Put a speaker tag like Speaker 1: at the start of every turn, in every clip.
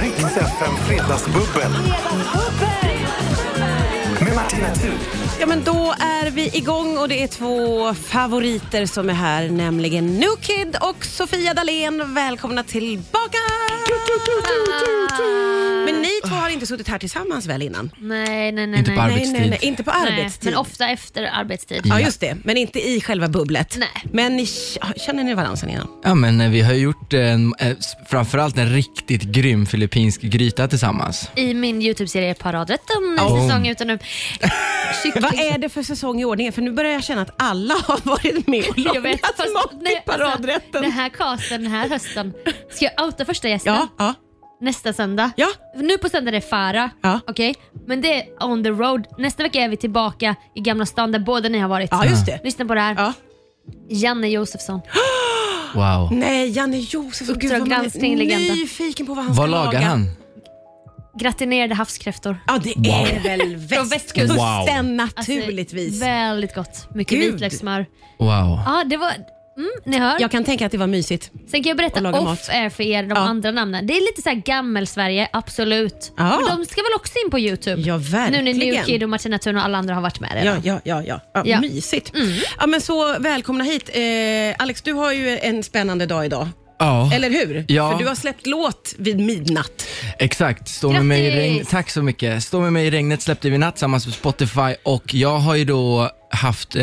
Speaker 1: FM Fredagsbubbel med Martina Thun.
Speaker 2: Ja, men då är vi igång och det är två favoriter som är här, nämligen Nukid och Sofia Dalén. Välkomna tillbaka! Men ni två har inte suttit här tillsammans väl innan?
Speaker 3: Ah, Nej, nej, nej.
Speaker 4: Inte
Speaker 3: nej.
Speaker 4: på
Speaker 2: Nej, nej, nej, inte på
Speaker 3: Nej,
Speaker 2: arbetstid.
Speaker 3: Men ofta efter arbetstid.
Speaker 2: Ja, just det. Men inte i själva bubblet.
Speaker 3: Nej.
Speaker 2: Men ni, känner ni varandra sen innan?
Speaker 4: Ja, men eh, vi har ju gjort en, eh, s- framförallt en riktigt grym filippinsk gryta tillsammans.
Speaker 3: I min YouTube-serie Paradrätten, en
Speaker 4: Oh.
Speaker 3: säsong ute nu.
Speaker 2: Vad är det för säsong i ordningen? För nu börjar jag känna att alla har varit med och
Speaker 3: Jag vet,
Speaker 2: lagat
Speaker 3: fast-
Speaker 2: mat i
Speaker 3: nej, alltså,
Speaker 2: paradrätten.
Speaker 3: Den här casten den här hösten. Ska jag outa första gästen
Speaker 2: ja, ja,
Speaker 3: nästa söndag?
Speaker 2: ja.
Speaker 3: Nu på söndag är det Farah,
Speaker 2: Ja.
Speaker 3: okej? Men det är on the road. Nästa vecka är vi tillbaka i Gamla stan där båda ni har varit.
Speaker 2: Ja, just det.
Speaker 3: Lyssna på det här.
Speaker 2: Ja.
Speaker 3: Janne Josefsson. Mm.
Speaker 4: Wow.
Speaker 2: Nej, Janne Josefsson. Gud vad man
Speaker 3: granskning,
Speaker 2: är
Speaker 3: legenden.
Speaker 2: nyfiken på vad han
Speaker 4: Vad
Speaker 2: ska
Speaker 4: lagar
Speaker 2: laga.
Speaker 4: han?
Speaker 3: Gratinerade havskräftor.
Speaker 2: Ja, det är väl västkusten
Speaker 3: Alltså,
Speaker 2: naturligtvis.
Speaker 3: Väldigt gott. Mycket
Speaker 2: Gud.
Speaker 3: vitlökssmör.
Speaker 4: Wow.
Speaker 3: Ja, det var... Mm, ni hör.
Speaker 2: Jag kan tänka att det var mysigt.
Speaker 3: Sen kan jag
Speaker 2: Och
Speaker 3: berätta
Speaker 2: laga
Speaker 3: off
Speaker 2: mat.
Speaker 3: air för er de
Speaker 2: Ja.
Speaker 3: andra namnen. Det är lite så här gammel-Sverige, absolut.
Speaker 2: Ja.
Speaker 3: Men de ska väl också in på Youtube?
Speaker 2: Ja, verkligen.
Speaker 3: Nu när New Kid och Martina Thun och alla andra har varit med redan.
Speaker 2: Ja, ja, ja, ja. ja,
Speaker 3: Ja. Mm.
Speaker 2: Mysigt. Ja, men så välkomna hit. Eh, Alex, du har ju en spännande dag idag.
Speaker 4: Ja,
Speaker 2: Eller hur?
Speaker 4: Ah. Ja.
Speaker 2: För du har släppt låt vid midnatt.
Speaker 4: exakt. Stå med mig i regn...
Speaker 3: Grattis!
Speaker 4: Tack så mycket. Stå med mig i regnet släppte vi i natt tillsammans med Spotify och jag har ju då haft eh,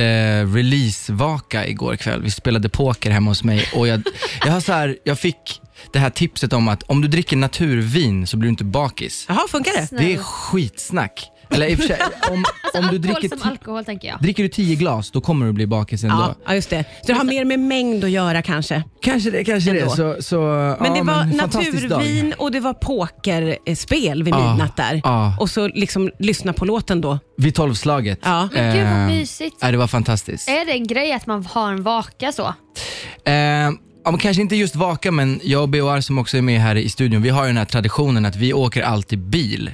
Speaker 4: releasevaka igår kväll. Vi spelade poker hemma hos mig och jag, jag, har så här, jag fick det här tipset om att om du dricker naturvin så blir du inte bakis.
Speaker 2: Jaha, funkar det?
Speaker 3: Snäll.
Speaker 4: Det är skitsnack. Eller i och för sig, om, om du
Speaker 3: Alltså, Alkohol
Speaker 4: dricker
Speaker 3: som
Speaker 4: ti-
Speaker 3: alkohol tänker jag.
Speaker 4: Dricker du tio glas, då kommer du bli bakis ändå.
Speaker 2: Ja, ja, just det. Så det har mer med mängd att göra kanske.
Speaker 4: Kanske det, kanske
Speaker 2: Ändå.
Speaker 4: det. Så, så,
Speaker 2: Men det
Speaker 4: ja,
Speaker 2: var
Speaker 4: fantastisk dag.
Speaker 2: naturvin och det var pokerspel vid
Speaker 4: Ja,
Speaker 2: midnatt där.
Speaker 4: ja.
Speaker 2: Och så liksom lyssna på låten då.
Speaker 4: Vid tolvslaget.
Speaker 2: Ja. Eh.
Speaker 3: Men gud vad
Speaker 4: Eh,
Speaker 3: mysigt.
Speaker 4: Ja, det var fantastiskt.
Speaker 3: Är det en grej att man har en vaka så?
Speaker 4: Eh, ja, men kanske inte just vaka, men jag och B.O.R. som också är med här i studion, vi har ju den här traditionen att vi åker alltid bil.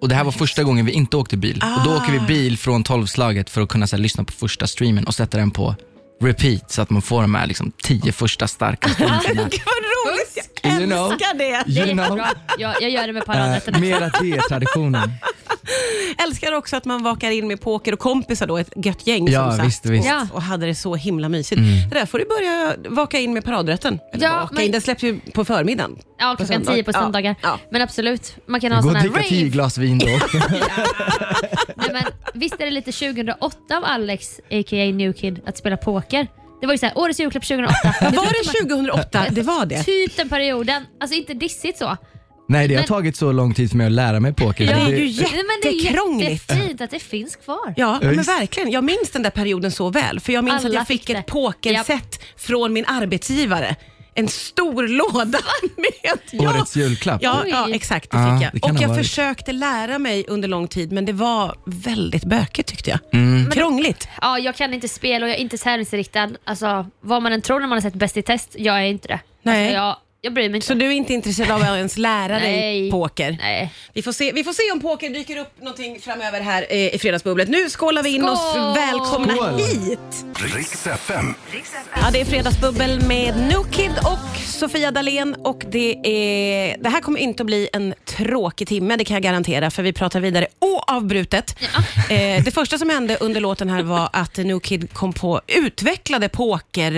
Speaker 4: Och Det här var första gången vi inte åkte bil. Och Då
Speaker 2: Ah.
Speaker 4: åker vi bil från tolvslaget för att kunna så här, lyssna på första streamen och sätta den på repeat så att man får de här liksom, tio första starka streamsen.
Speaker 2: Gud vad roligt! Jag
Speaker 4: You know.
Speaker 2: älskar det!
Speaker 3: Det är
Speaker 4: You know?
Speaker 3: jättebra. Jag, jag gör det med paradrätten.
Speaker 4: Eh, mer att det är traditionen.
Speaker 2: Älskar också att man vakar in med poker och kompisar då, ett gött gäng
Speaker 4: Ja,
Speaker 2: som satt
Speaker 4: visst, visst.
Speaker 2: Och,
Speaker 4: Mm.
Speaker 3: Ja.
Speaker 2: och hade det så himla mysigt. Det där får du börja vaka in med paradrätten. Eller
Speaker 3: Ja,
Speaker 2: vaka
Speaker 3: men-
Speaker 2: in, den släpps ju på förmiddagen.
Speaker 3: Ja, klockan
Speaker 2: söndag.
Speaker 3: tio på
Speaker 2: Ja,
Speaker 3: söndagar.
Speaker 2: ja.
Speaker 3: Men absolut, man kan ha sån här rave.
Speaker 4: glas vin då.
Speaker 3: Nej, men, visst är det lite 2008 av Alex, a.k.a. New Kid, att spela poker? Det var ju såhär, årets julklapp 2008.
Speaker 2: Var det 2008? Det var det.
Speaker 3: Typ den perioden. Alltså inte dissigt så.
Speaker 4: Nej, det har
Speaker 3: Men- Mm.
Speaker 4: tagit så lång tid för mig att lära mig poker.
Speaker 2: Det är
Speaker 4: Det-
Speaker 2: ju
Speaker 3: Nej, men det är
Speaker 2: jättekrångligt.
Speaker 3: jättefint att det finns kvar.
Speaker 2: Ja, men
Speaker 4: visst.
Speaker 2: verkligen. Jag minns den där perioden så väl. För jag minns
Speaker 3: Alla
Speaker 2: att jag
Speaker 3: fick
Speaker 2: fick ett
Speaker 3: det.
Speaker 2: pokerset från min arbetsgivare. En stor låda med...
Speaker 4: Årets julklapp.
Speaker 2: Ja,
Speaker 3: Oj.
Speaker 2: ja, exakt. Det
Speaker 4: Ja,
Speaker 2: fick
Speaker 4: det
Speaker 2: jag.
Speaker 4: kan
Speaker 2: och
Speaker 4: ha
Speaker 2: jag
Speaker 4: varit.
Speaker 2: försökte lära mig under lång tid, men det var väldigt bökigt tyckte jag.
Speaker 4: Mm.
Speaker 2: Krångligt.
Speaker 3: Ja, jag kan inte spela och jag är inte tävlingsriktad. Alltså, vad man än tror när man har sett Bäst i test, jag är inte det.
Speaker 2: Nej.
Speaker 3: Alltså, jag, jag bryr mig inte.
Speaker 2: Så du är inte intresserad av att ens lära dig
Speaker 3: Nej.
Speaker 2: poker?
Speaker 3: Nej.
Speaker 2: Vi får, se, vi får se om poker dyker upp någonting framöver här eh, i Fredagsbubblet. Nu skålar vi in oss.
Speaker 3: Skål!
Speaker 2: Välkomna
Speaker 4: Skål!
Speaker 2: hit!
Speaker 1: Riks FM.
Speaker 2: Ja, det är Fredagsbubbel med Nukid och Sofia Dalén och det, är, det här kommer inte att bli en tråkig timme, det kan jag garantera, för vi pratar vidare oavbrutet. Eh, det första som hände under låten här var att Nukid kom på, utvecklade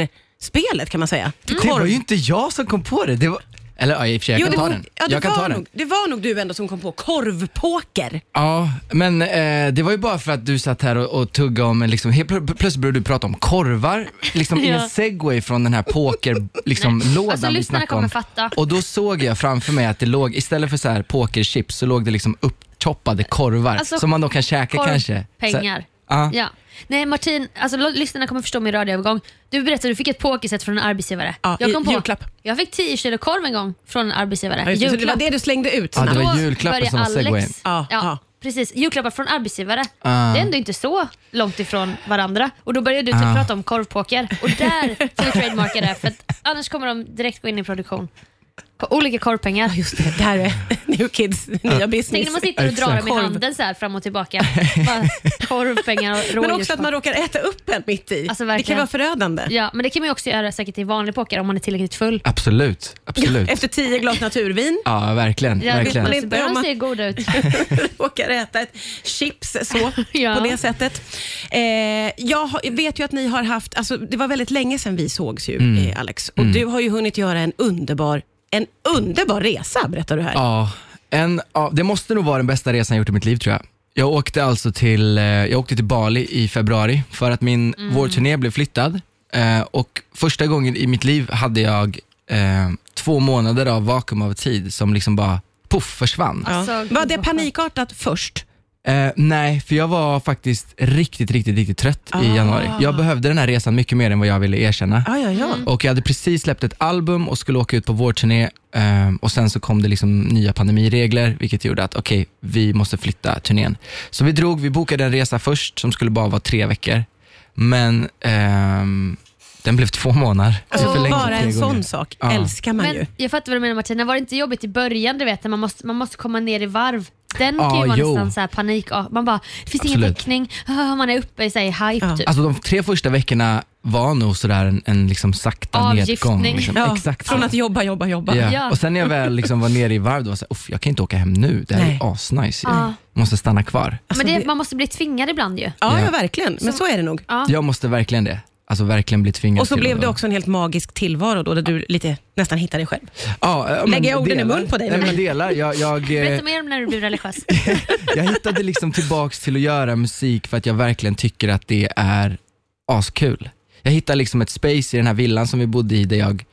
Speaker 2: pokerspelet kan man säga.
Speaker 4: Mm. Det var ju inte jag som kom på det. det var... Eller ja, i och för sig, jag
Speaker 2: Jo, det
Speaker 4: kan ta
Speaker 2: var-
Speaker 4: den.
Speaker 2: ja, det
Speaker 4: jag kan
Speaker 2: var
Speaker 4: ta den.
Speaker 2: nog, Det var nog du ändå som kom på korvpoker.
Speaker 4: Ja, men eh, det var ju bara för att du satt här och, och tuggade om, en liksom, helt plö- plötsligt började du prata om korvar, liksom i en
Speaker 3: Ja.
Speaker 4: segway från den här pokerlådan liksom, lådan
Speaker 3: Alltså,
Speaker 4: vi
Speaker 3: lyssnarna
Speaker 4: snackade om.
Speaker 3: kommer fatta.
Speaker 4: Och då såg jag framför mig att det låg, istället för så här pokerchips, så låg det liksom uppchoppade korvar
Speaker 3: Alltså,
Speaker 4: som man då kan käka kanske.
Speaker 3: Pengar.
Speaker 4: Så, ja.
Speaker 3: Ja. Nej Martin, alltså, lo- lyssnarna kommer förstå min radioövergång. Du berättade att du fick ett pokerset från en arbetsgivare.
Speaker 2: Ja, i-
Speaker 3: jag kom på,
Speaker 2: julklapp.
Speaker 3: Jag fick 10 kilo korv en gång från en arbetsgivare.
Speaker 2: Ja, just det. Så det var
Speaker 3: Julklapp.
Speaker 2: det du slängde ut
Speaker 4: Ja, det
Speaker 2: snabbt.
Speaker 4: var
Speaker 3: Då
Speaker 4: julklappen
Speaker 3: började
Speaker 4: som var segwayen.
Speaker 3: Alex.
Speaker 2: Ja,
Speaker 3: Ja,
Speaker 2: ja.
Speaker 3: Precis, julklappar från arbetsgivare.
Speaker 4: Ah.
Speaker 3: Det är ändå inte så långt ifrån varandra. Och Då började du typ
Speaker 4: Ah.
Speaker 3: prata om korvpoker och där får vi trademarka
Speaker 4: Ah,
Speaker 3: det för att annars kommer de direkt gå in i produktion. Ko- Olika korvpengar.
Speaker 2: Just det, det här är, ni New Kids nya
Speaker 3: Tänk
Speaker 2: business.
Speaker 3: när man sitter och drar
Speaker 4: Exakt.
Speaker 3: dem i
Speaker 2: Korv.
Speaker 3: handen så här fram och tillbaka. Bara korv, pengar och
Speaker 2: Men också att
Speaker 3: rådjurskorv.
Speaker 2: man råkar äta upp en mitt i.
Speaker 3: Alltså,
Speaker 2: det kan
Speaker 3: verkligen.
Speaker 2: vara förödande.
Speaker 3: Ja, men det kan man ju också göra säkert i vanlig poker om man är tillräckligt full.
Speaker 4: Absolut, absolut.
Speaker 2: Efter tio glas naturvin
Speaker 4: Ja, verkligen.
Speaker 3: Ja,
Speaker 4: verkligen.
Speaker 2: man
Speaker 3: Man
Speaker 2: inte
Speaker 3: inte
Speaker 2: om man-
Speaker 3: börjar se god ut.
Speaker 2: råkar äta ett chips så,
Speaker 3: Ja.
Speaker 2: på det sättet. Eh, jag har- vet ju att ni har haft, alltså, det var väldigt länge sedan vi sågs ju,
Speaker 4: Mm.
Speaker 2: eh, Alex, och du har ju hunnit göra en underbar en underbar resa berättar du här.
Speaker 4: Ja, en, av- det måste nog vara den bästa resan jag gjort i mitt liv tror jag. Jag åkte alltså till, eh, jag åkte till Bali i februari för att min vårturné blev flyttad. Eh, och första gången i mitt liv hade jag eh, två månader av vakuum av tid som liksom bara poff försvann.
Speaker 2: Ja.
Speaker 3: Alltså, gud,
Speaker 2: var det
Speaker 3: vad skönt.
Speaker 2: panikartat först?
Speaker 4: Eh, nej, för jag var faktiskt riktigt, riktigt, riktigt trött i januari. Jag behövde den här resan mycket mer än vad jag ville erkänna.
Speaker 2: Ja, ja,
Speaker 3: Mm.
Speaker 2: ja.
Speaker 4: Och jag hade precis släppt ett album och skulle åka ut på vårturné eh, och sen så kom det liksom nya pandemiregler vilket gjorde att okej, vi måste flytta turnén. Så vi drog, vi bokade en resa först som skulle bara vara tre veckor. Men ehm, den blev två månader.
Speaker 2: Alltså,
Speaker 4: Jag förlängde
Speaker 2: bara
Speaker 4: tre
Speaker 2: en sån
Speaker 4: gånger.
Speaker 2: sak
Speaker 4: Ja.
Speaker 2: älskar man ju.
Speaker 3: Men jag fattar vad du menar Martina, var det inte jobbigt i början du vet när man måste, man måste komma ner i varv? Den
Speaker 4: Ja,
Speaker 3: kan ju vara
Speaker 4: jo.
Speaker 3: nästan så här panik. ja, Man bara, det finns ingen
Speaker 4: Absolut.
Speaker 3: täckning, Ah, man är uppe i sig hype
Speaker 2: Ja.
Speaker 3: typ.
Speaker 4: Alltså de tre första veckorna var nog sådär en, en liksom sakta
Speaker 3: Avgiftning.
Speaker 4: nedgång. Liksom.
Speaker 2: Ja,
Speaker 4: Exakt så.
Speaker 2: från att jobba, jobba, jobba.
Speaker 4: Ja.
Speaker 3: Ja.
Speaker 4: Och sen när jag väl liksom var nere i varv, då var jag såhär, "Uff, jag kan inte åka hem nu. Det här
Speaker 2: Nej.
Speaker 4: är asnice. ju.
Speaker 3: Ja.
Speaker 4: Måste stanna kvar.
Speaker 2: Alltså,
Speaker 3: men det,
Speaker 2: det-
Speaker 3: man måste bli tvingad ibland ju.
Speaker 2: Ja,
Speaker 4: Ja.
Speaker 2: ja, verkligen. Men så är det nog.
Speaker 3: Ja.
Speaker 4: Jag måste verkligen det. Alltså verkligen bli tvingad
Speaker 2: Och så
Speaker 4: till
Speaker 2: blev
Speaker 4: att-
Speaker 2: det också en helt magisk tillvaro då, där du lite, nästan hittade dig själv.
Speaker 4: Ja, ja, men
Speaker 2: Lägger jag orden i
Speaker 4: delar.
Speaker 2: mun på dig?
Speaker 4: Nej, men delar. Jag, jag, eh,
Speaker 3: Berätta mer om när du blir religiös.
Speaker 4: jag hittade liksom tillbaks till att göra musik för att jag verkligen tycker att det är askul. Jag hittade liksom ett space i den här villan som vi bodde i där jag,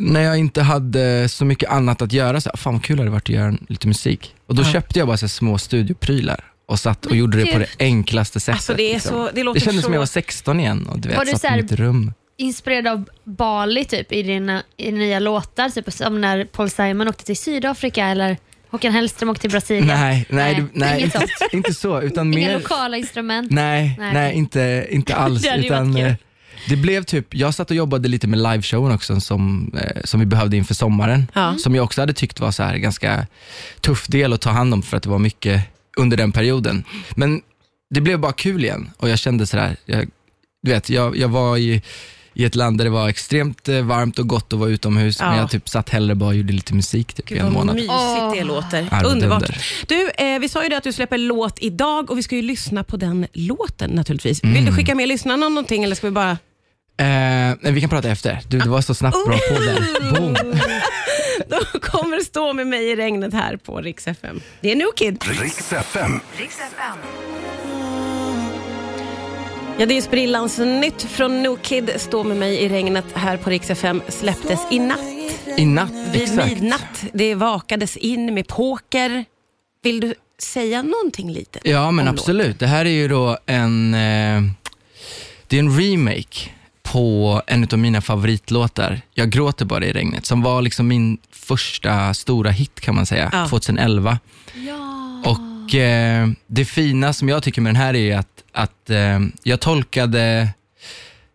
Speaker 4: när jag inte hade så mycket annat att göra, så här, fan vad kul hade det varit att göra lite musik. Och då
Speaker 2: Ja.
Speaker 4: köpte jag bara så här, små studioprylar och satt och gjorde det på det enklaste sättet.
Speaker 2: Alltså, det, är
Speaker 4: liksom.
Speaker 2: så, det låter
Speaker 4: det kändes
Speaker 2: så...
Speaker 4: som jag var 16 igen och du vet,
Speaker 3: Var det
Speaker 4: satt
Speaker 3: så här-
Speaker 4: i mitt rum.
Speaker 3: Inspirerad av Bali typ i dina, i dina nya låtar, typ, som när Paul Simon åkte till Sydafrika eller Håkan Hellström åkte till Brasilien.
Speaker 4: Nej, nej, du- nej
Speaker 3: inget
Speaker 4: inte,
Speaker 3: sånt.
Speaker 4: inte så, utan
Speaker 3: Inga
Speaker 4: mer
Speaker 3: lokala instrument.
Speaker 4: Nej,
Speaker 3: Nej.
Speaker 4: nej. inte, inte alls.
Speaker 3: Det hade ju varit
Speaker 4: utan,
Speaker 3: kul.
Speaker 4: eh, det blev typ, jag satt och jobbade lite med liveshowen också som, eh, som vi behövde inför sommaren.
Speaker 2: Ja.
Speaker 4: Som jag också hade tyckt var så här ganska tuff del att ta hand om för att det var mycket under den perioden. Men det blev bara kul igen och jag kände så här, jag, du vet, jag, jag var i, i ett land där det var extremt eh, varmt och gott att vara utomhus
Speaker 2: Ja.
Speaker 4: men jag typ satt hellre bara och gjorde lite musik typ, i
Speaker 2: Gud
Speaker 4: en
Speaker 2: vad
Speaker 4: månad.
Speaker 2: mysigt det låter.
Speaker 4: Ja, det var
Speaker 2: Underbart.
Speaker 4: dunder.
Speaker 2: Du, eh, vi sa ju det att du släpper låt idag och vi ska ju lyssna på den låten naturligtvis. Vill
Speaker 4: Mm.
Speaker 2: du skicka med lyssnarna om någonting eller ska vi bara...
Speaker 4: Eh, nej, vi kan prata efter. Du, det var så snabbt bra på där. Boom.
Speaker 2: De kommer stå med mig i regnet här på Rix FM. Det är New Kid.
Speaker 1: Riks FM.
Speaker 2: Ja, det är sprillans nytt från New Kid. Stå med mig i regnet här på Rix FM. Släpptes i natt,
Speaker 4: I natt,
Speaker 2: vid
Speaker 4: exakt.
Speaker 2: midnatt. Det vakades in med poker. Vill du säga någonting litet?
Speaker 4: Ja, men
Speaker 2: om
Speaker 4: absolut. Det här är ju då en, eh, det är en remake på en av mina favoritlåtar, Jag gråter bara i regnet, som var liksom min första stora hit kan man säga,
Speaker 2: Ja.
Speaker 4: 2011.
Speaker 3: Ja.
Speaker 4: Och eh, det fina som jag tycker med den här är att, att eh, jag tolkade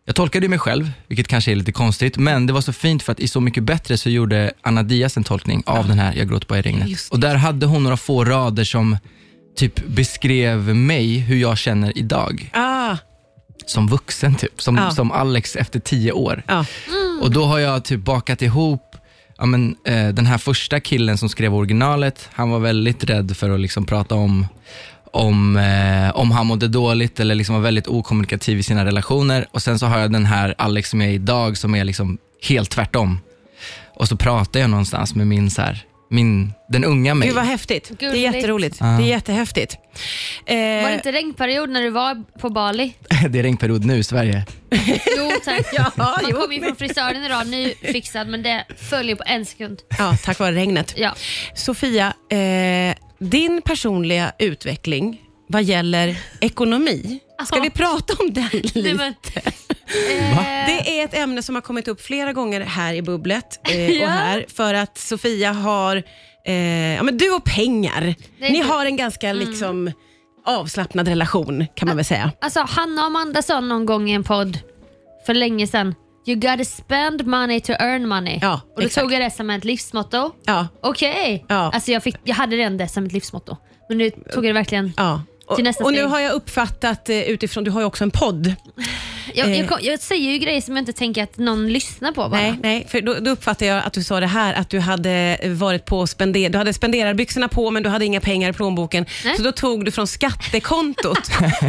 Speaker 4: jag tolkade ju mig själv, vilket kanske är lite konstigt, men det var så fint för att i Så mycket bättre så gjorde Anna Diaz en tolkning av den här Jag gråter bara i regnet.
Speaker 2: Just
Speaker 4: Och där hade hon några få rader som typ beskrev mig, hur jag känner idag,
Speaker 2: Ah,
Speaker 4: som vuxen typ, som,
Speaker 2: Ja.
Speaker 4: som Alex efter tio år.
Speaker 2: ja.
Speaker 4: Och då har jag typ bakat ihop Ja, men, eh, den här första killen som skrev originalet, han var väldigt rädd för att liksom prata om, om, eh, om han mådde dåligt eller liksom var väldigt okommunikativ i sina relationer. Och sen så har jag den här Alex som jag är idag som är liksom helt tvärtom. Och så pratar jag någonstans med min, så här, min den unga mig.
Speaker 2: Gud vad häftigt. Det är
Speaker 3: Gulligt.
Speaker 2: jätteroligt.
Speaker 4: Ja.
Speaker 2: Det är jättehäftigt. Eh,
Speaker 3: Var det inte regnperiod när du var på Bali?
Speaker 4: Det är regnperiod nu i Sverige.
Speaker 3: Jo tack.
Speaker 2: Ja,
Speaker 3: Man
Speaker 2: jo.
Speaker 3: kom ju från frisören idag nyfixad men det följer på en sekund.
Speaker 2: Ja, tack vare regnet.
Speaker 3: Ja.
Speaker 2: Sofia, eh, din personliga utveckling vad gäller ekonomi, ska
Speaker 3: Ja.
Speaker 2: vi prata om den
Speaker 3: Nej,
Speaker 2: lite?
Speaker 3: men, eh,
Speaker 2: Det är ett ämne som har kommit upp flera gånger här i bubblet eh,
Speaker 3: Ja.
Speaker 2: och här för att Sofia har, eh, ja men du och pengar,
Speaker 3: är
Speaker 2: ni
Speaker 3: inte- Mm.
Speaker 2: har en ganska liksom avslappnad relation kan man väl säga.
Speaker 3: alltså, Hanna och Amanda sa någon gång i en podd för länge sedan You gotta spend money to earn money.
Speaker 2: Ja,
Speaker 3: och då
Speaker 2: exakt.
Speaker 3: tog jag det som ett livsmotto.
Speaker 2: Ja.
Speaker 3: Okej.
Speaker 2: Ja.
Speaker 3: Alltså jag, fick, jag hade redan det som ett livsmotto. Men nu tog jag det verkligen
Speaker 2: Ja. Och,
Speaker 3: till nästa
Speaker 2: och
Speaker 3: steg.
Speaker 2: nu har jag uppfattat eh, utifrån, du har ju också en podd.
Speaker 3: jag, jag, kom- jag säger ju grejer som jag inte tänker att någon lyssnar på bara.
Speaker 2: Eh. Nej, nej, för då, då uppfattade jag att du sa det här, att du hade varit på spender, du hade spenderarbyxorna på men du hade inga pengar i plånboken.
Speaker 3: Nej.
Speaker 2: Så då tog du från skattekontot.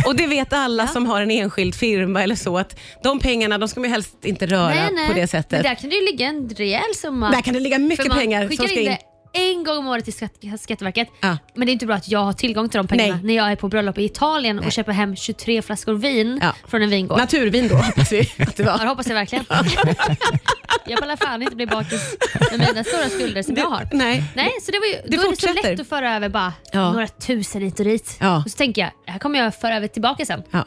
Speaker 2: och det vet alla som har en enskild firma eller så, att de pengarna de ska man ju helst inte röra
Speaker 3: nej, nej.
Speaker 2: på det
Speaker 3: Men
Speaker 2: sättet.
Speaker 3: där kan det ju ligga en rejäl summa.
Speaker 2: Där kan det ligga mycket
Speaker 3: För man
Speaker 2: pengar som
Speaker 3: skickar
Speaker 2: ska
Speaker 3: in
Speaker 2: in.
Speaker 3: det en gång om året till Skatt- Skatteverket.
Speaker 2: Ja.
Speaker 3: Men det är inte bra att jag har tillgång till de pengarna
Speaker 2: Nej.
Speaker 3: när jag är på bröllop i Italien och köper hem 23 flaskor vin
Speaker 2: Ja.
Speaker 3: från en vingård.
Speaker 2: Naturvin då, hoppas vi att det
Speaker 3: Ja, det
Speaker 2: var.
Speaker 3: hoppas jag verkligen. jag pallar fan inte bli bakis med mina stora skulder som jag har.
Speaker 2: Nej.
Speaker 3: Nej, så det var ju, då är det så
Speaker 2: fortsätter.
Speaker 3: lätt att föra över bara
Speaker 2: Ja.
Speaker 3: några tusen hit och dit.
Speaker 2: Ja.
Speaker 3: Och så tänker jag, det här kommer jag föra över tillbaka sen.
Speaker 2: Ja.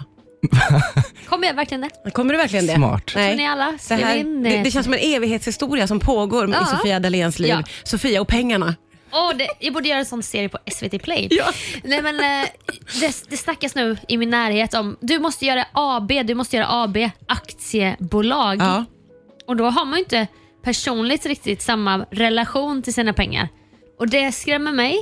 Speaker 3: Kommer jag verkligen det?
Speaker 2: Kommer du verkligen det?
Speaker 4: Smart.
Speaker 3: Tror ni alla?
Speaker 2: Det,
Speaker 3: Skriv
Speaker 2: här,
Speaker 3: in.
Speaker 2: det, det känns som en evighetshistoria som pågår
Speaker 3: Ja.
Speaker 2: i Sofia Dalens liv.
Speaker 3: Ja.
Speaker 2: Sofia och pengarna.
Speaker 3: Åh, det, jag borde göra en sån serie på SVT Play.
Speaker 2: Ja.
Speaker 3: Nej, men, eh, det, det snackas nu i min närhet om du måste göra AB, du måste göra AB, aktiebolag.
Speaker 2: Ja.
Speaker 3: Och då har man ju inte personligt riktigt samma relation till sina pengar. Och det skrämmer mig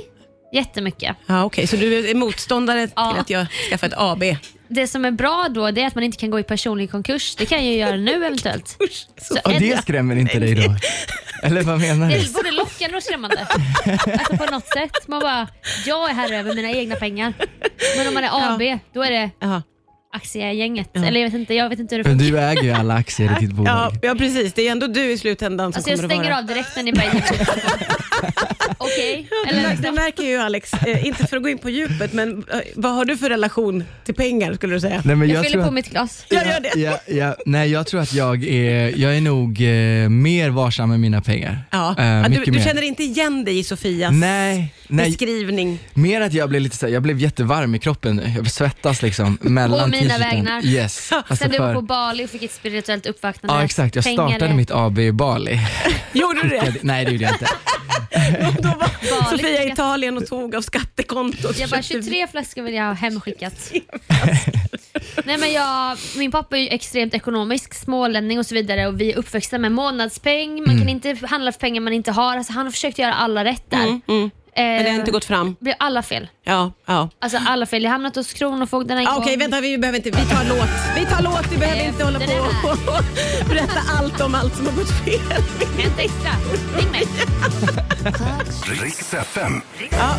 Speaker 3: jättemycket.
Speaker 2: Ja, Okej, så du är motståndare
Speaker 3: Ja.
Speaker 2: till att jag skaffar ett AB?
Speaker 3: Det som är bra då det är att man inte kan gå i personlig konkurs. Det kan jag ju göra nu eventuellt. Så
Speaker 4: Och
Speaker 3: ändå-
Speaker 4: det skrämmer inte dig då? Eller vad menar
Speaker 3: det
Speaker 4: du?
Speaker 3: är både lockande och skrämmande. Alltså på något sätt. Man bara, jag är herre över mina egna pengar. Men om man är AB, då är det
Speaker 2: Ja.
Speaker 3: aktiegänget. Eller jag vet inte, jag vet inte hur det
Speaker 4: Men
Speaker 3: funkar.
Speaker 4: du äger ju alla aktier i ditt
Speaker 2: Ja,
Speaker 4: bolag.
Speaker 2: ja, precis. Det är ändå du i slutändan som
Speaker 3: Alltså jag
Speaker 2: kommer att
Speaker 3: stänger
Speaker 2: vara...
Speaker 3: av direkt när ni börjar ge mig Okej, eller
Speaker 2: Det märker ju Alex, eh, inte för att gå in på djupet, men eh, vad har du för relation till pengar skulle du säga?
Speaker 4: Nej, men
Speaker 3: jag,
Speaker 4: jag
Speaker 3: fyller
Speaker 4: tror
Speaker 3: på
Speaker 4: att
Speaker 3: mitt glas.
Speaker 2: Jag gör det.
Speaker 4: Ja, ja, nej, jag tror att jag är, jag är nog eh, mer varsam med mina pengar.
Speaker 2: Ja.
Speaker 4: Eh,
Speaker 2: Ja, du,
Speaker 4: mycket
Speaker 2: du
Speaker 4: mer.
Speaker 2: känner inte igen dig i Sofias
Speaker 4: Nej, nej,
Speaker 2: beskrivning?
Speaker 4: mer att jag blev lite så här, jag blev jättevarm i kroppen nu. Jag svettas liksom mellan
Speaker 3: På mina
Speaker 4: t-shirten.
Speaker 3: vägnar.
Speaker 4: Yes. Alltså
Speaker 3: Sen du var
Speaker 4: för,
Speaker 3: på Bali och fick ett spirituellt uppvaknande.
Speaker 4: ja exakt, jag
Speaker 3: Pengar
Speaker 4: startade
Speaker 3: är-
Speaker 4: mitt AB i Bali.
Speaker 2: Gjorde du det?
Speaker 4: nej det gjorde jag inte.
Speaker 2: Då var
Speaker 3: Bali.
Speaker 2: Sofia i Italien och tog av skattekontot.
Speaker 3: Jag bara,
Speaker 2: Köpte-
Speaker 3: 23 flaskor vill jag ha hemskickat. Nej, men jag, min pappa är ju extremt ekonomisk, smålänning och så vidare och vi är uppväxta med månadspeng, man
Speaker 4: Mm.
Speaker 3: kan inte handla för pengar man inte har. Alltså, han har försökt göra alla rätt där.
Speaker 2: Mm, Men det har inte gått fram.
Speaker 3: blir alla fel.
Speaker 2: Ja, ja.
Speaker 3: Alltså alla fel. Jag har hamnat hos Kronofogden en
Speaker 2: Ah,
Speaker 3: gång.
Speaker 2: Okej, vänta, vi behöver inte, vi tar låt. Vi tar låt, vi behöver
Speaker 3: Eh,
Speaker 2: inte hålla
Speaker 3: det
Speaker 2: på
Speaker 3: där.
Speaker 2: och berätta allt om allt som har gått fel.
Speaker 3: Hämta extra. Ring mig.
Speaker 1: Riks FM.
Speaker 2: Ja,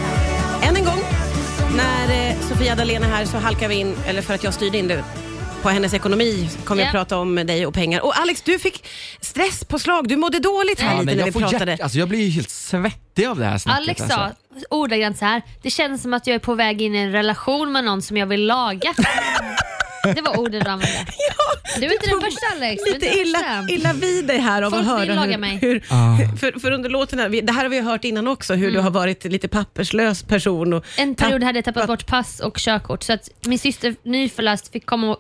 Speaker 2: än en gång. När eh, Sofia Dalén är här så halkar vi in, eller för att jag styrde in det, på hennes ekonomi kommer
Speaker 3: Ja.
Speaker 2: jag prata om dig och pengar. Och Alex, du fick stress på slag. Du mådde dåligt här
Speaker 4: Ja,
Speaker 2: lite
Speaker 4: men
Speaker 2: när
Speaker 4: jag,
Speaker 2: vi
Speaker 4: får
Speaker 2: pratade.
Speaker 4: hjärt, alltså, jag blir ju helt svettig av det här snacket.
Speaker 3: Alex
Speaker 4: alltså.
Speaker 3: sa ordagrant så här. Det känns som att jag är på väg in i en relation med någon som jag vill laga. Det var orden du använde. Du är inte den första Alex. Du är inte
Speaker 2: Lite
Speaker 3: den
Speaker 2: illa,
Speaker 3: första.
Speaker 2: illa vid dig här av
Speaker 3: Folk
Speaker 2: att
Speaker 3: vill
Speaker 2: höra
Speaker 3: laga
Speaker 2: hur,
Speaker 3: mig.
Speaker 2: hur
Speaker 4: Ah.
Speaker 2: för, för under låten här, vi- det här har vi ju hört innan också, hur du har varit lite papperslös person. Och
Speaker 3: Mm. En period hade jag tappat bort pass och körkort så att min syster nyförlöst fick komma och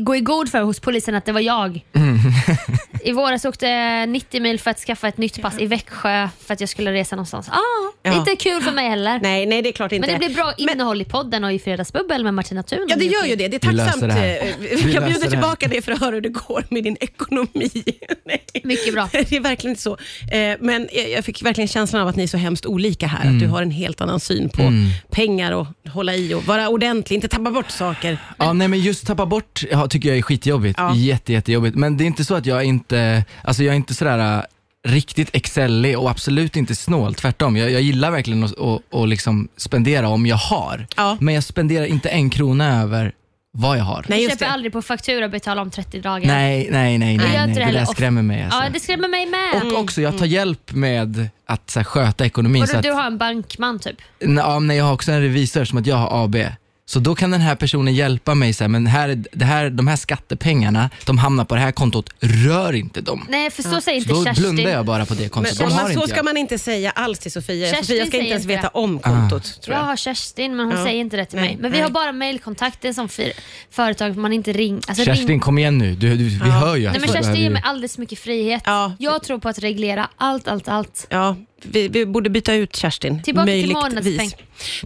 Speaker 3: gå i god för hos polisen att det var jag. I våras åkte jag 90 mil för att skaffa ett nytt pass i Växjö för att jag skulle resa någonstans. Ah,
Speaker 2: Ja.
Speaker 3: Inte kul för mig heller.
Speaker 2: Nej, nej, det är klart inte.
Speaker 3: Men det blir bra
Speaker 2: Men-
Speaker 3: innehåll i podden och i Fredagsbubbel med Martina Thun.
Speaker 2: Ja, det gör ju det. Det är
Speaker 4: Vi löser
Speaker 2: tacksamt.
Speaker 4: det här.
Speaker 2: eh,
Speaker 4: Vi
Speaker 2: Vi kan
Speaker 4: löser
Speaker 2: bjuda
Speaker 4: det
Speaker 2: tillbaka det för att höra hur det går med din ekonomi. Nej.
Speaker 3: Mycket bra.
Speaker 2: Det är verkligen inte så. Eh, Men jag- jag fick verkligen känslan av att ni är så hemskt olika här.
Speaker 4: Mm.
Speaker 2: Att du har en helt annan syn på pengar och hålla i och vara ordentlig, inte tappa bort saker.
Speaker 4: Ja, nej men just tappa bort ja, tycker jag är skitjobbigt.
Speaker 2: Ja.
Speaker 4: Jätte, jättejobbigt. Men det är inte så att jag inte, alltså jag är inte sådär äh, riktigt excellig och absolut inte snål. Tvärtom, jag, jag gillar verkligen att att- att liksom spendera om jag har.
Speaker 2: Ja.
Speaker 4: Men jag spenderar inte en krona över vad jag har.
Speaker 2: Nej,
Speaker 3: Jag
Speaker 2: just
Speaker 3: köper
Speaker 2: det.
Speaker 3: aldrig på faktura och betalar om 30 dagar.
Speaker 4: nej, nej, nej.
Speaker 3: Jag gör
Speaker 4: nej, nej.
Speaker 3: inte
Speaker 4: Det,
Speaker 3: heller
Speaker 4: där
Speaker 3: ofta.
Speaker 4: skrämmer mig. Alltså.
Speaker 3: Ja, det skrämmer mig med.
Speaker 4: Och också, jag tar hjälp med att så här, sköta ekonomin.
Speaker 3: Och
Speaker 4: så
Speaker 3: du,
Speaker 4: att,
Speaker 3: du har en bankman typ.
Speaker 4: N- Ja, men jag har också en revisor som att jag har AB. Så då kan den här personen hjälpa mig så här, men här, är- det här, de här skattepengarna, de hamnar på det här kontot, rör inte dem.
Speaker 3: Nej, för så säger inte
Speaker 4: Då
Speaker 3: Kerstin.
Speaker 4: blundar jag bara på det kontot.
Speaker 2: Men,
Speaker 4: de har
Speaker 2: men så
Speaker 4: inte
Speaker 2: ska
Speaker 4: jag.
Speaker 2: man inte säga alls till Sofia.
Speaker 3: Kerstin
Speaker 2: Sofia ska
Speaker 3: säger
Speaker 2: inte ens
Speaker 3: inte det.
Speaker 2: veta om kontot.
Speaker 4: Ah.
Speaker 2: Tror
Speaker 3: Jag
Speaker 2: jag.
Speaker 3: har Kerstin men hon
Speaker 2: Ja.
Speaker 3: säger inte det till
Speaker 2: Nej,
Speaker 3: mig. Men vi
Speaker 2: nej.
Speaker 3: har bara mejlkontakter som fyr, företag man inte ringer. Alltså,
Speaker 4: Kerstin,
Speaker 3: ring.
Speaker 4: kom igen nu. Du, du, vi hör ju att
Speaker 2: alltså,
Speaker 3: Nej, men
Speaker 4: du
Speaker 3: Kerstin
Speaker 4: behöver
Speaker 3: ger
Speaker 4: ju-
Speaker 3: mig alldeles mycket frihet.
Speaker 2: Ja.
Speaker 3: Jag tror på att reglera allt, allt, allt.
Speaker 2: Ja, vi, vi borde byta ut Kerstin.
Speaker 3: Tillbaka till
Speaker 2: möjligtvis.
Speaker 3: månadspeng.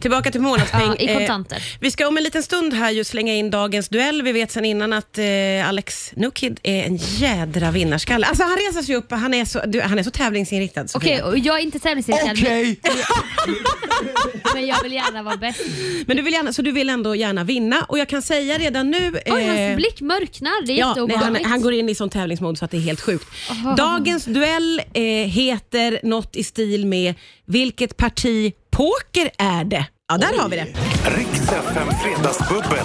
Speaker 2: Tillbaka till månadspeng.
Speaker 3: Ja, i
Speaker 2: Eh,
Speaker 3: kontanter.
Speaker 2: vi ska om en liten stund här ju slänga in dagens duell. Vi vet sedan innan att eh, Alex Nukid är en jädra vinnarskalle. Alltså han reser sig upp och han är så, du, han är så tävlingsinriktad. Sofia.
Speaker 3: Okej, och jag är inte tävlingsinriktad men-
Speaker 4: Okej!
Speaker 3: men jag vill gärna vara bäst.
Speaker 2: Men du vill gärna, så du vill ändå gärna vinna och jag kan säga redan nu...
Speaker 3: Oj,
Speaker 2: eh,
Speaker 3: hans blick mörknar. Det är
Speaker 2: Ja, nej, han,
Speaker 3: jätteobehagligt.
Speaker 2: han går in i sån tävlingsmod så att det är helt sjukt.
Speaker 3: Aha.
Speaker 2: Dagens duell eh, heter något i stil med Vilket parti poker är det? Ja, där har vi det.
Speaker 1: Riks FM Fredagsbubbel.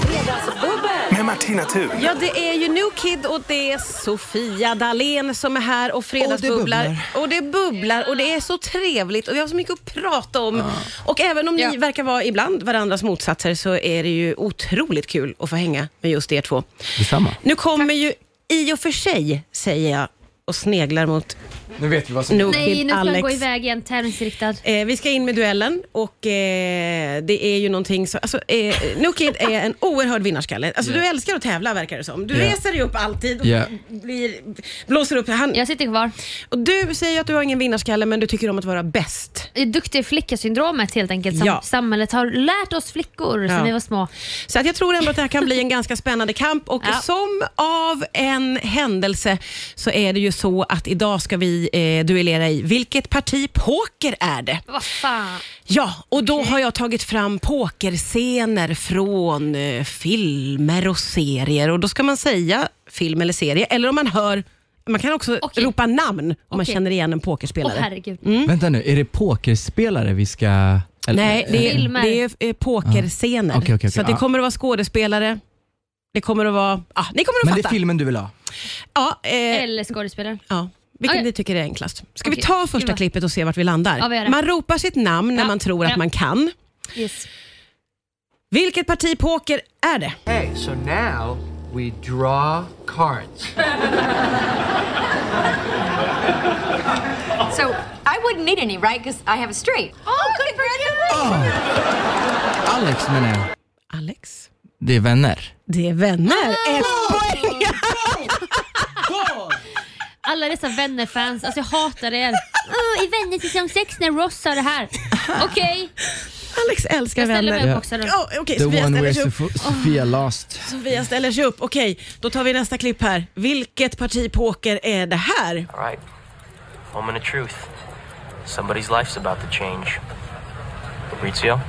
Speaker 1: Med Martina Thun.
Speaker 2: Ja, det är ju New Kid och det är Sofia Dalén som är här och fredagsbubblar. Och det bubblar och det är så trevligt och vi har så mycket att prata om. Och även om ni
Speaker 3: Ja.
Speaker 2: verkar vara ibland varandras motsatser så är det ju otroligt kul att få hänga med just er två.
Speaker 4: Detsamma.
Speaker 2: Nu kommer ju i och för sig, säger jag och sneglar mot
Speaker 4: Nu vet vi vad som...
Speaker 2: New
Speaker 3: Nej,
Speaker 2: Kid
Speaker 3: nu ska han
Speaker 2: Alex.
Speaker 3: gå iväg igen. Tävlingsinriktad.
Speaker 2: Eh, vi ska in med duellen och eh, det är ju någonting som... Alltså, eh, New Kid är en oerhörd vinnarskalle. Alltså, Du älskar att tävla verkar det som. Du
Speaker 4: Ja.
Speaker 2: reser dig upp alltid och
Speaker 4: Ja.
Speaker 2: blir, blåser upp. Han,
Speaker 3: Jag sitter kvar.
Speaker 2: och du säger ju att du har ingen vinnarskalle men du tycker om att vara bäst.
Speaker 3: Det är Duktig flicka-syndromet helt enkelt som
Speaker 2: Ja.
Speaker 3: samhället har lärt oss flickor
Speaker 2: Ja.
Speaker 3: sedan vi var små.
Speaker 2: Så att jag tror ändå att det här kan bli en ganska spännande kamp och
Speaker 3: Ja.
Speaker 2: som av en händelse så är det ju så att idag ska vi eh, duellera i vilket parti poker är det?
Speaker 3: Vad fan.
Speaker 2: Ja, och då har jag tagit fram pokerscener från eh, filmer och serier. Och Då ska man säga film eller serie, eller om man hör man kan också
Speaker 3: Okej.
Speaker 2: ropa namn om man
Speaker 3: Okej.
Speaker 2: känner igen en
Speaker 3: Åh
Speaker 2: pokerspelare.
Speaker 3: herregud.
Speaker 4: Vänta nu, är det pokerspelare vi ska... eller-
Speaker 2: Mm. Nej, det är,
Speaker 3: Filmer.
Speaker 2: det är eh, pokerscener.
Speaker 4: Ah. Okej, okej, okej.
Speaker 2: Så att det
Speaker 4: Ah.
Speaker 2: kommer att vara skådespelare, det kommer att vara... Ah, ni kommer att
Speaker 4: Men det är
Speaker 2: fatta.
Speaker 4: filmen du vill ha?
Speaker 2: ja, eh,
Speaker 3: Eller skådespelare.
Speaker 2: ja. Vilken
Speaker 3: Okej.
Speaker 2: ni tycker är enklast. Ska vi
Speaker 3: Okej.
Speaker 2: ta första
Speaker 3: Gud, vad-
Speaker 2: klippet och se vart vi landar?
Speaker 3: Ja, vi gör det.
Speaker 2: man ropar sitt namn när
Speaker 3: Ja.
Speaker 2: man tror att
Speaker 3: Ja.
Speaker 2: man kan.
Speaker 3: Yes.
Speaker 2: Vilket parti poker är det?
Speaker 5: Okay, so now we draw cards.
Speaker 6: So I wouldn't need any, right? Because I have a straight. Oh, good, for you!
Speaker 4: Alex menar jag.
Speaker 2: Alex?
Speaker 4: Det är vänner.
Speaker 2: Det är vänner.
Speaker 3: Ah!
Speaker 2: Ett poäng.
Speaker 3: Alla dessa vännerfans, alltså jag hatar er. Oh, I Vänner säsong 6 när Ross sa det här. Okej,
Speaker 2: Alex älskar
Speaker 3: jag ställer mig
Speaker 2: vänner.
Speaker 3: upp också då.
Speaker 2: Oh, Okej,
Speaker 4: The
Speaker 2: Sofia
Speaker 4: one
Speaker 2: ställer
Speaker 4: where
Speaker 2: sig upp.
Speaker 4: Sof- Sofia lost.
Speaker 2: Sofia ställer sig upp. Okej, då tar vi nästa klipp här. Vilket parti poker är det här?
Speaker 7: All right. Moment of truth. Somebody's life's about to change. Fabrizio?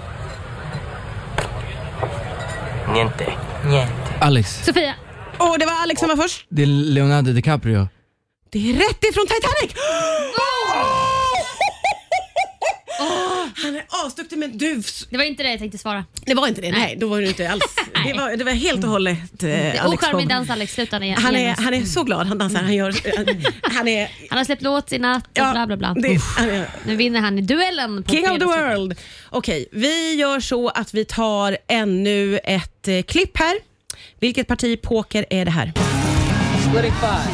Speaker 7: Niente. Niente.
Speaker 4: Alex,
Speaker 3: Sofia,
Speaker 2: Åh, det var Alex som var först.
Speaker 4: det är Leonardo DiCaprio.
Speaker 2: Det är rätt ifrån Titanic! Ah, Han är asduktig men du...
Speaker 3: det var inte det jag tänkte svara.
Speaker 2: Det var inte det, nej. Då var du inte alls... Det var, det var helt och hållet eh, Alex
Speaker 3: Ocharmig
Speaker 2: Bob.
Speaker 3: dans Alex, sluta ner.
Speaker 2: Han är,
Speaker 3: genast.
Speaker 2: han är så glad, han dansar, han gör... Han är...
Speaker 3: han har släppt låt i natt och
Speaker 2: Ja,
Speaker 3: bla bla bla.
Speaker 2: Det, han är
Speaker 3: Nu vinner han i duellen. På
Speaker 2: King of the
Speaker 3: fredags.
Speaker 2: world. Okej, vi gör så att vi tar ännu ett eh, klipp här. Vilket parti poker är det här?
Speaker 8: Splitting five.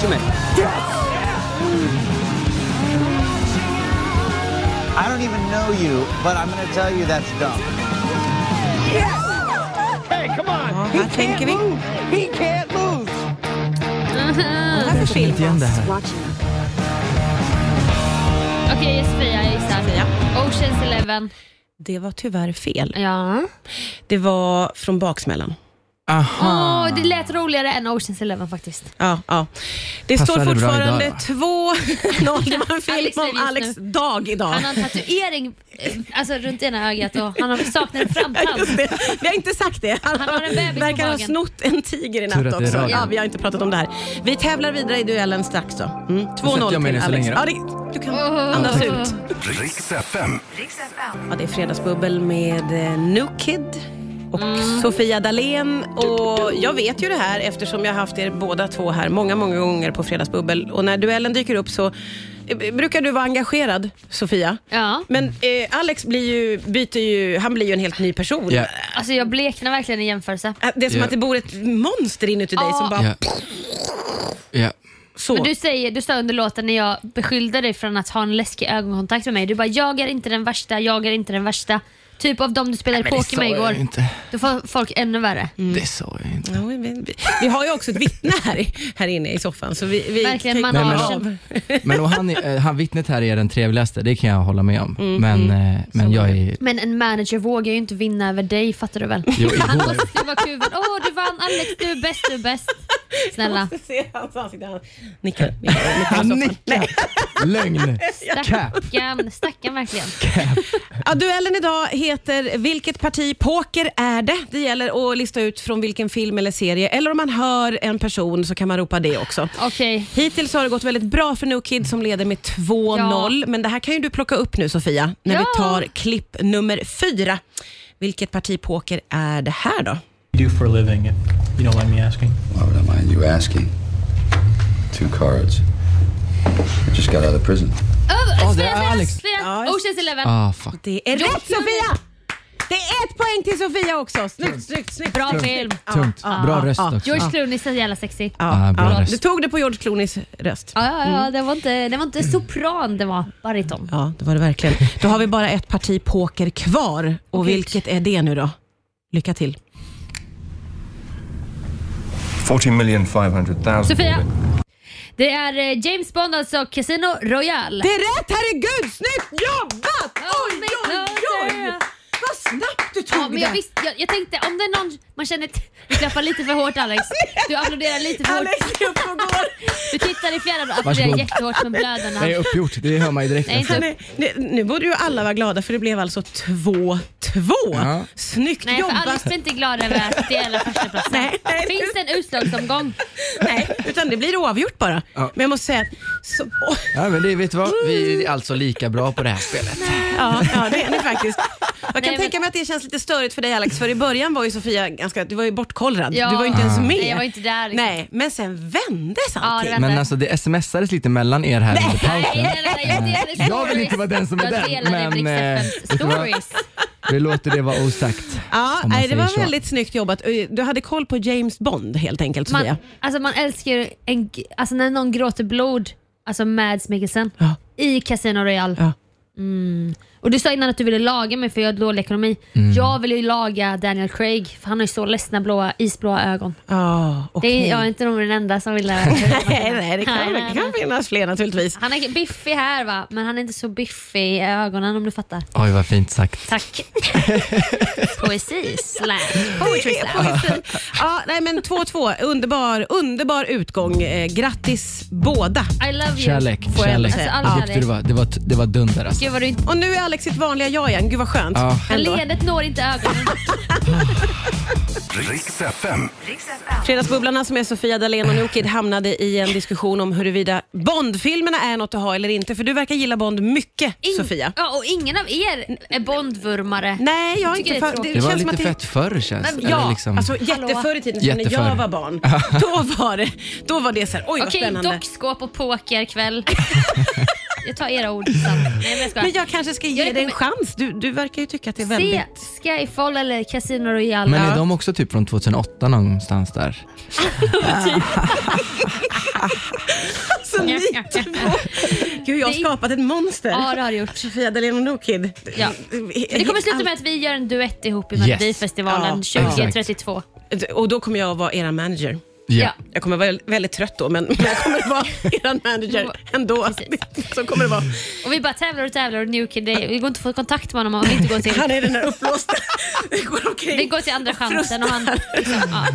Speaker 8: Too many. I don't even know you, but I'm gonna tell you that's dumb.
Speaker 2: Här tänker vi.
Speaker 8: He can't lose.
Speaker 2: Här för film?
Speaker 4: Igen det här.
Speaker 3: Okej, Sofia, jag gissar. Oceans Eleven.
Speaker 2: Det var tyvärr fel.
Speaker 3: Ja.
Speaker 2: Det var från baksmällan.
Speaker 4: Aha.
Speaker 3: Åh, det lät roligare än Oceans Eleven faktiskt.
Speaker 2: Ja, ja. Det
Speaker 4: Passade
Speaker 2: står
Speaker 4: bra
Speaker 2: fortfarande
Speaker 4: idag, va?
Speaker 2: 2-0. Det var en film
Speaker 3: Alex är
Speaker 2: om
Speaker 3: just nu.
Speaker 2: Alex dag idag.
Speaker 3: Han har en tatuering eh, alltså, runt ena ögat och han har saknar en
Speaker 2: Ja,
Speaker 3: framtand.
Speaker 2: Just det. Vi har inte sagt det. Han,
Speaker 3: Han har en bebis på
Speaker 2: verkar ha
Speaker 3: magen.
Speaker 2: snott en tiger i
Speaker 4: Tur att
Speaker 2: natt
Speaker 4: det är
Speaker 2: också.
Speaker 4: radio.
Speaker 2: Ja, vi har inte pratat om det här. Vi tävlar vidare i duellen strax då. Mm. 2-0
Speaker 4: sätter jag
Speaker 2: till
Speaker 4: mig ner så
Speaker 2: Alex.
Speaker 4: länge
Speaker 2: Ja,
Speaker 4: då.
Speaker 2: det, du kan
Speaker 3: Åh.
Speaker 2: andas ut.
Speaker 1: Riks FM.
Speaker 2: Ja, det är Fredagsbubbel med eh, Nukid och
Speaker 3: Mm.
Speaker 2: Sofia Dalén. Och jag vet ju det här eftersom jag har haft er båda två här många, många gånger på Fredagsbubbel. Och när duellen dyker upp så eh, brukar du vara engagerad, Sofia.
Speaker 3: Ja.
Speaker 2: Men eh, Alex blir ju, byter ju, han blir ju en helt ny person.
Speaker 4: Ja.
Speaker 3: Alltså jag bleknar verkligen i jämförelse.
Speaker 2: Eh, Det är som
Speaker 4: Ja.
Speaker 2: att det bor ett monster inuti dig
Speaker 3: Ja.
Speaker 2: som bara
Speaker 4: Ja. Ja.
Speaker 2: så.
Speaker 3: Men du, säger, du sa under låten när jag beskyllde dig från att ha en läskig ögonkontakt med mig. Du bara, jag är inte den värsta, jag är inte den värsta. Typ av de du spelade
Speaker 4: men det
Speaker 3: poker med
Speaker 4: sa jag
Speaker 3: igår.
Speaker 4: ju inte. Mm.
Speaker 3: Då får folk ännu värre.
Speaker 4: Det sa jag inte.
Speaker 2: Ja, vi, vi, vi har ju också ett vittne här, i- här inne i soffan. Så vi, vi
Speaker 3: Verkligen,
Speaker 2: täcker
Speaker 3: man har-
Speaker 2: av.
Speaker 3: Nej,
Speaker 4: Men och han, är- eh, han vittnet här är den trevligaste, det kan jag hålla med om. Men, eh, men jag är...
Speaker 3: Men en manager vågar ju inte vinna över dig, fattar du väl?
Speaker 4: Jo, igår-
Speaker 3: Han måste skriva kuven. Åh, du vann Alex, du är bäst, du är bäst. Snälla.
Speaker 2: Jag ser hans ansikte. Han nickar. nickar, nickar i soffan.
Speaker 4: Lögn!
Speaker 3: Stackarn, stackarn verkligen.
Speaker 2: Ja, duellen idag heter Vilket parti poker är det? Det gäller att lista ut från vilken film eller serie. Eller om man hör en person så kan man ropa det också.
Speaker 3: Okej.
Speaker 2: Hittills har det gått väldigt bra för No Kid som leder med 2-0. Men det här kan ju du plocka upp nu Sofia, när
Speaker 3: Ja.
Speaker 2: vi tar klipp nummer fyra. Vilket parti poker är det här då?
Speaker 9: do for a living, if you don't mind me asking?
Speaker 10: Why would I mind you asking? Two cards. I just got out of prison.
Speaker 3: Oh,
Speaker 4: det är Alex.
Speaker 3: Oceans Eleven.
Speaker 4: Ah, fuck.
Speaker 2: Det är rätt Sofia! Det är ett poäng till Sofia också. Snyggt, snyggt, snyggt.
Speaker 3: Bra film.
Speaker 4: Tungt. Bra röst också.
Speaker 3: George Clooney är så jävla sexig. Ja,
Speaker 4: Ah, bra
Speaker 2: Ja,
Speaker 4: röst.
Speaker 2: du tog det på George Clooneys röst.
Speaker 3: ja,
Speaker 4: Mm.
Speaker 3: ja det, var inte, det var inte sopran, det var bariton.
Speaker 2: Ja, det var det verkligen. Då har vi bara ett parti poker kvar. Och
Speaker 3: Okej.
Speaker 2: vilket är det nu då? Lycka till.
Speaker 1: 40,500,000.
Speaker 3: Sofia. Det är eh, James Bond, alltså Casino Royale.
Speaker 2: Det är rätt, herregud! Snyggt jobbat! Oj, oj, oj! Vad snabbt du
Speaker 3: Ja,
Speaker 2: tog
Speaker 3: men jag,
Speaker 2: det!
Speaker 3: visste, jag, jag tänkte om det är någon man känner... t- Du klappar lite för hårt Alex. Du applåderar lite för hårt.
Speaker 2: Alex är upp och går.
Speaker 3: Du tittar i fjärran och applåderar
Speaker 4: Varsågod.
Speaker 3: jättehårt med blödorna.
Speaker 4: Det är uppgjort, det hör man ju direkt.
Speaker 3: Nej, inte
Speaker 4: efter.
Speaker 3: upp.
Speaker 2: Nej, nu- Nu borde ju alla vara glada för det blev alltså 2-2.
Speaker 4: Ja.
Speaker 2: Snyggt
Speaker 3: Nej, för Alex
Speaker 2: jobbat!
Speaker 3: blir inte glad över att det gäller förstaplatsen.
Speaker 2: Nej, nej.
Speaker 3: Finns det en utslagsomgång?
Speaker 2: Nej, utan det blir oavgjort bara.
Speaker 4: Ja.
Speaker 2: Men jag måste säga att... Så, oj.
Speaker 4: Ja, men det, vet du vad? Vi är alltså lika bra på det här spelet.
Speaker 2: Ja, ja det är ni faktiskt. Jag kan
Speaker 3: Nej, men-
Speaker 2: tänka mig att det känns lite störigt för dig Alex, för i början var ju Sofia ganska, du var ju bortkollrad.
Speaker 3: Ja.
Speaker 2: Du var ju inte ens med.
Speaker 3: Nej, jag var inte där liksom.
Speaker 2: Nej, men sen vändes
Speaker 3: Ja, det
Speaker 2: allting.
Speaker 3: var-
Speaker 4: Men alltså det smsades lite mellan er här under
Speaker 3: Nej,
Speaker 4: pausen.
Speaker 3: nej, nej, jag delade
Speaker 4: Jag vill inte vara den som är
Speaker 3: stories.
Speaker 4: den,
Speaker 3: Jag delade
Speaker 4: men,
Speaker 3: Blix
Speaker 4: eh,
Speaker 3: FMs
Speaker 4: vet du vad?
Speaker 3: stories.
Speaker 4: Vi låter det vara osagt.
Speaker 2: Ja,
Speaker 4: om man
Speaker 2: nej, det
Speaker 4: säger
Speaker 2: var
Speaker 4: så.
Speaker 2: väldigt snyggt jobbat. Du hade koll på James Bond helt enkelt Sofia.
Speaker 3: Man, alltså man älskar ju en, g- alltså när någon gråter blod, alltså Mads Mikkelsen,
Speaker 2: Ja.
Speaker 3: i Casino Royale.
Speaker 2: Ja.
Speaker 3: Mm. Och Du sa innan att du ville laga mig för jag har dålig ekonomi.
Speaker 2: Mm.
Speaker 3: Jag vill ju laga Daniel Craig för han har ju så ledsna blåa, isblåa ögon.
Speaker 2: Ja,
Speaker 3: Det
Speaker 2: okej.
Speaker 3: är, Jag är inte nog den enda som vill lära
Speaker 2: Nej, nej, det kan, det kan finnas fler naturligtvis.
Speaker 3: Han är biffig här va, men han är inte så biffig i ögonen om du fattar.
Speaker 4: Oj, vad fint sagt.
Speaker 3: Tack. Poesi slash poetry
Speaker 2: Det är
Speaker 3: slam.
Speaker 2: poesi. Ja, nej men 2-2, underbar, underbar utgång. Eh, Grattis båda.
Speaker 3: I love you.
Speaker 4: Kärlek,
Speaker 2: jag ändå
Speaker 4: kärlek.
Speaker 2: säga.
Speaker 3: Ja.
Speaker 4: Vad duktig du var. Alltså, Det var, det var dunder alltså.
Speaker 3: Gud vad du inte...
Speaker 2: Och nu är Alex sitt vanliga jag igen, gud vad skönt.
Speaker 4: Ja.
Speaker 2: Ändå.
Speaker 3: Leendet når inte ögonen.
Speaker 1: Riks FM.
Speaker 2: Fredagsbubblarna som är Sofia Dalén och Nokid hamnade i en diskussion om huruvida Bondfilmerna är något att ha eller inte. För du verkar gilla Bond mycket,
Speaker 3: In-
Speaker 2: Sofia.
Speaker 3: Ja, och ingen av er är Bondvurmare.
Speaker 2: Nej, jag har
Speaker 3: tycker
Speaker 2: inte...
Speaker 3: det är
Speaker 2: för-
Speaker 3: tråkigt.
Speaker 4: Det var
Speaker 2: känns som
Speaker 4: lite
Speaker 2: att
Speaker 4: fett förr känns
Speaker 3: Men
Speaker 4: det.
Speaker 2: Ja,
Speaker 4: Eller liksom.
Speaker 2: alltså
Speaker 3: Hallå?
Speaker 2: jätteförr i tiden, när
Speaker 4: Jätteförr.
Speaker 2: jag var barn, då var det, då var det så här, oj vad
Speaker 3: Okej,
Speaker 2: spännande.
Speaker 3: dockskåp och pokerkväll. jag tar era ord. Sam. Nej, men jag skojar.
Speaker 2: Men jag kanske ska ge
Speaker 3: Jag
Speaker 2: dig en chans. Du, du verkar ju tycka att det är
Speaker 3: Se
Speaker 2: väldigt...
Speaker 3: Skyfall eller Casino Royale.
Speaker 4: Men är de också typ från 2008 någonstans där?
Speaker 2: Så ni
Speaker 3: Ja,
Speaker 2: två.
Speaker 3: ja, ja.
Speaker 2: Gud, jag har
Speaker 3: Det är-
Speaker 2: skapat ett monster.
Speaker 3: Ja, det har du gjort.
Speaker 2: Sofia Dalén och Nokid.
Speaker 3: Ja. Det kommer sluta med att vi gör en duett ihop i Melodifestivalen
Speaker 2: Yes.
Speaker 4: Ja,
Speaker 3: 2032.
Speaker 2: Och då kommer jag att vara er manager.
Speaker 3: Ja.
Speaker 2: Jag kommer vara väldigt trött då, men men jag kommer vara er manager ändå. Så kommer det vara.
Speaker 3: Och vi bara tävlar och tävlar och Newkid, det det går inte att få kontakt med honom om vi inte går till...
Speaker 2: Han är den där uppblåsta. Vi går omkring.
Speaker 3: Vi går till andra chansen och han... Liksom, ja.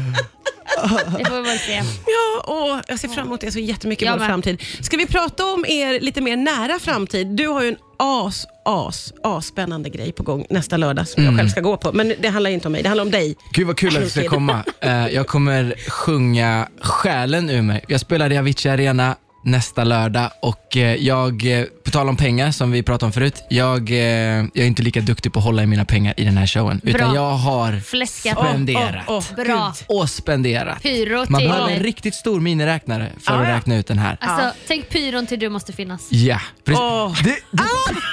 Speaker 3: Det får vi väl se.
Speaker 2: Ja, åh, jag ser fram emot det så jättemycket i
Speaker 3: Jag
Speaker 2: vår
Speaker 3: med.
Speaker 2: framtid. Ska vi prata om er lite mer nära framtid? Du har ju en as, as, as spännande grej på gång nästa lördag som
Speaker 4: Mm.
Speaker 2: jag själv ska gå på. Men det handlar ju inte om mig, det handlar om dig.
Speaker 4: Gud vad kul att du ska komma. Eh, jag kommer sjunga själen ur mig. Jag spelar i Avicii Arena nästa lördag och eh, jag, eh, på tal om pengar som vi pratade om förut, jag, eh, jag är inte lika duktig på att hålla i mina pengar i den här showen. Utan jag har
Speaker 3: Fläskat.
Speaker 4: spenderat.
Speaker 2: Åh, åh,
Speaker 3: Bra.
Speaker 2: Gud.
Speaker 4: Och spenderat.
Speaker 3: Pyro
Speaker 4: Man
Speaker 3: till-
Speaker 4: behöver en riktigt stor miniräknare för
Speaker 2: Ja,
Speaker 4: att
Speaker 2: ja.
Speaker 4: räkna ut den här.
Speaker 3: Alltså, tänk pyron till du måste finnas.
Speaker 4: Ja, precis.
Speaker 2: Åh. Ah!
Speaker 4: Det, det,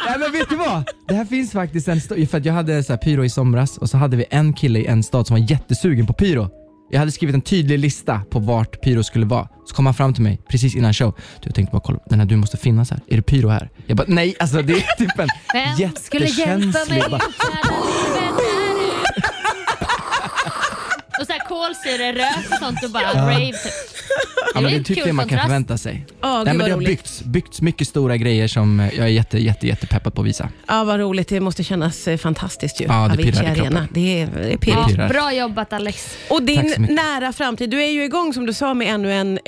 Speaker 4: nej, men vet du vad? Det här finns faktiskt en sto- för att jag hade så här pyro i somras och så hade vi en kille i en stad som var jättesugen på pyro. Jag hade skrivit en tydlig lista på vart pyro skulle vara. Så kom han fram till mig precis innan show. Du, jag tänkte bara kolla, den här du måste finnas här. Är det pyro här? Jag bara nej, alltså det är typ en
Speaker 3: Vem skulle
Speaker 4: jättekänslig...
Speaker 3: hjälpa mig
Speaker 4: bara,
Speaker 3: att kläda kolsyrerök och sånt och bara rave. Typ.
Speaker 4: Ja, men
Speaker 3: Det
Speaker 4: det
Speaker 3: är
Speaker 4: är typ
Speaker 3: kul
Speaker 4: det man kan
Speaker 3: kontrast.
Speaker 4: förvänta sig.
Speaker 2: Ja, gud
Speaker 4: Nej, men
Speaker 2: vad
Speaker 4: det har
Speaker 2: roligt.
Speaker 4: byggts, byggts mycket stora grejer som eh, jag är jätte, jätte, jätte peppad på att visa.
Speaker 2: Ja, vad roligt. Det måste kännas eh, fantastiskt ju.
Speaker 4: Ja, det
Speaker 2: Avicii
Speaker 4: pirrar i
Speaker 2: Arena.
Speaker 4: kroppen.
Speaker 2: Det är, det är
Speaker 3: Ja,
Speaker 2: pirrigt.
Speaker 4: pirrar.
Speaker 3: bra jobbat Alex.
Speaker 2: Och
Speaker 4: Tack
Speaker 2: din
Speaker 4: så mycket.
Speaker 2: nära framtid. Du är ju igång som du sa med ännu en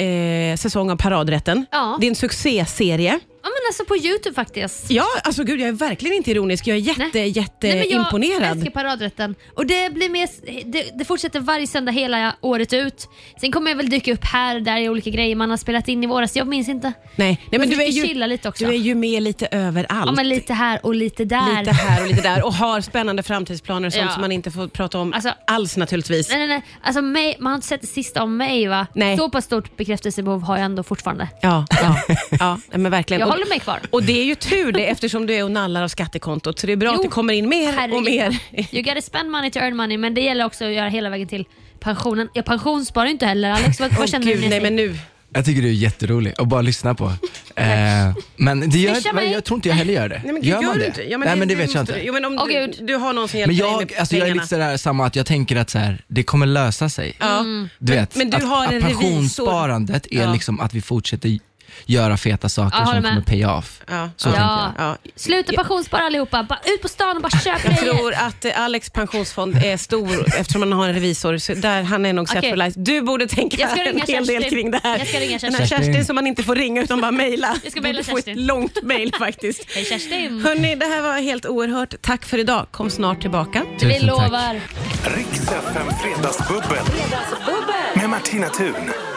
Speaker 2: eh, säsong av Paradrätten.
Speaker 3: Ja.
Speaker 2: Din succéserie.
Speaker 3: Ja men alltså på Youtube faktiskt.
Speaker 2: Ja, alltså gud jag är verkligen inte ironisk. Jag är jätte,
Speaker 3: Nej. Nej, men Jag
Speaker 2: jätteimponerad.
Speaker 3: älskar paradrätten. Och det, blir mer, det, det fortsätter varje söndag hela året ut. Sen kommer jag väl dyka upp här och där i olika grejer man har spelat in i våras. Jag minns inte.
Speaker 2: Nej, nej men
Speaker 3: Jag
Speaker 2: du är,
Speaker 3: försöker
Speaker 2: ju,
Speaker 3: chilla lite också.
Speaker 2: du är ju med lite överallt.
Speaker 3: Ja, men lite här och lite där.
Speaker 2: Lite här och lite där och har spännande framtidsplaner och sånt
Speaker 3: Ja.
Speaker 2: som man inte får prata om
Speaker 3: Alltså-
Speaker 2: alls naturligtvis.
Speaker 3: Nej, nej, nej. Alltså, mig, man har inte sett det sista om mig va?
Speaker 2: Nej.
Speaker 3: Så pass stort bekräftelsebehov har jag ändå fortfarande.
Speaker 2: Ja, ja, ja nej, men verkligen.
Speaker 3: Jag
Speaker 2: Och-
Speaker 3: håller mig kvar.
Speaker 2: Och det är ju tur det eftersom du är och nallar av skattekontot så det är bra att
Speaker 3: Jo,
Speaker 2: det kommer in mer och
Speaker 3: Herregud.
Speaker 2: mer.
Speaker 3: You gotta spend money to earn money men det gäller också att göra hela vägen till pensionen. Jag pensionssparar ju inte heller Alex. Vad, vad
Speaker 2: Åh
Speaker 3: känner du
Speaker 2: gud,
Speaker 3: när jag
Speaker 2: nej
Speaker 3: säger-
Speaker 2: men nu.
Speaker 4: Jag tycker du är jätterolig att bara lyssna på. Eh, men det gör,
Speaker 3: Swisha
Speaker 4: men
Speaker 3: mig.
Speaker 4: jag tror inte jag heller gör det.
Speaker 2: Nej, men gud,
Speaker 4: gör man
Speaker 2: du
Speaker 4: det?
Speaker 2: inte? Ja,
Speaker 4: Nej, men
Speaker 2: du
Speaker 4: det vet jag
Speaker 2: måste-
Speaker 4: inte.
Speaker 2: Jo, men om
Speaker 3: Åh,
Speaker 2: du,
Speaker 3: gud.
Speaker 2: du har någon som hjälper
Speaker 4: Men
Speaker 2: dig
Speaker 4: jag,
Speaker 2: med
Speaker 4: alltså jag är
Speaker 2: pengarna.
Speaker 4: lite sådär samma, att jag tänker att så här, det kommer lösa sig.
Speaker 2: Ja.
Speaker 3: Mm.
Speaker 4: Du vet,
Speaker 2: men du
Speaker 4: att,
Speaker 2: har en
Speaker 4: att
Speaker 2: revisor.
Speaker 4: pensionssparandet är
Speaker 2: Ja.
Speaker 4: liksom att vi fortsätter göra feta saker
Speaker 3: Ja, håller
Speaker 4: som
Speaker 3: med.
Speaker 4: kommer pay off.
Speaker 2: Ja.
Speaker 4: Så tänker jag.
Speaker 3: Ja.
Speaker 2: Ja.
Speaker 3: Sluta pensionsspara allihopa. Bara ut på stan och bara köp
Speaker 2: Jag
Speaker 3: grejer.
Speaker 2: tror att eh, Alex pensionsfond är stor eftersom han har en revisor. Så där, han är nog set
Speaker 3: Okej.
Speaker 2: for life. Du borde tänka
Speaker 3: Jag ska
Speaker 2: en
Speaker 3: ringa
Speaker 2: hel del
Speaker 3: Kerstin.
Speaker 2: kring det här.
Speaker 3: Jag ska ringa
Speaker 2: Den här
Speaker 4: Kerstin.
Speaker 2: Kerstin som man inte får ringa utan bara mejla.
Speaker 3: Jag ska mejla
Speaker 2: Du får ett
Speaker 3: Kerstin.
Speaker 2: långt mejl faktiskt.
Speaker 3: Hej Kerstin.
Speaker 2: Hörni, det här var helt oerhört. Tack för idag. Kom snart tillbaka.
Speaker 3: Vi
Speaker 4: Tusen tack.
Speaker 3: lovar.
Speaker 1: Riks FM Fredagsbubbel. Med Martina Thun.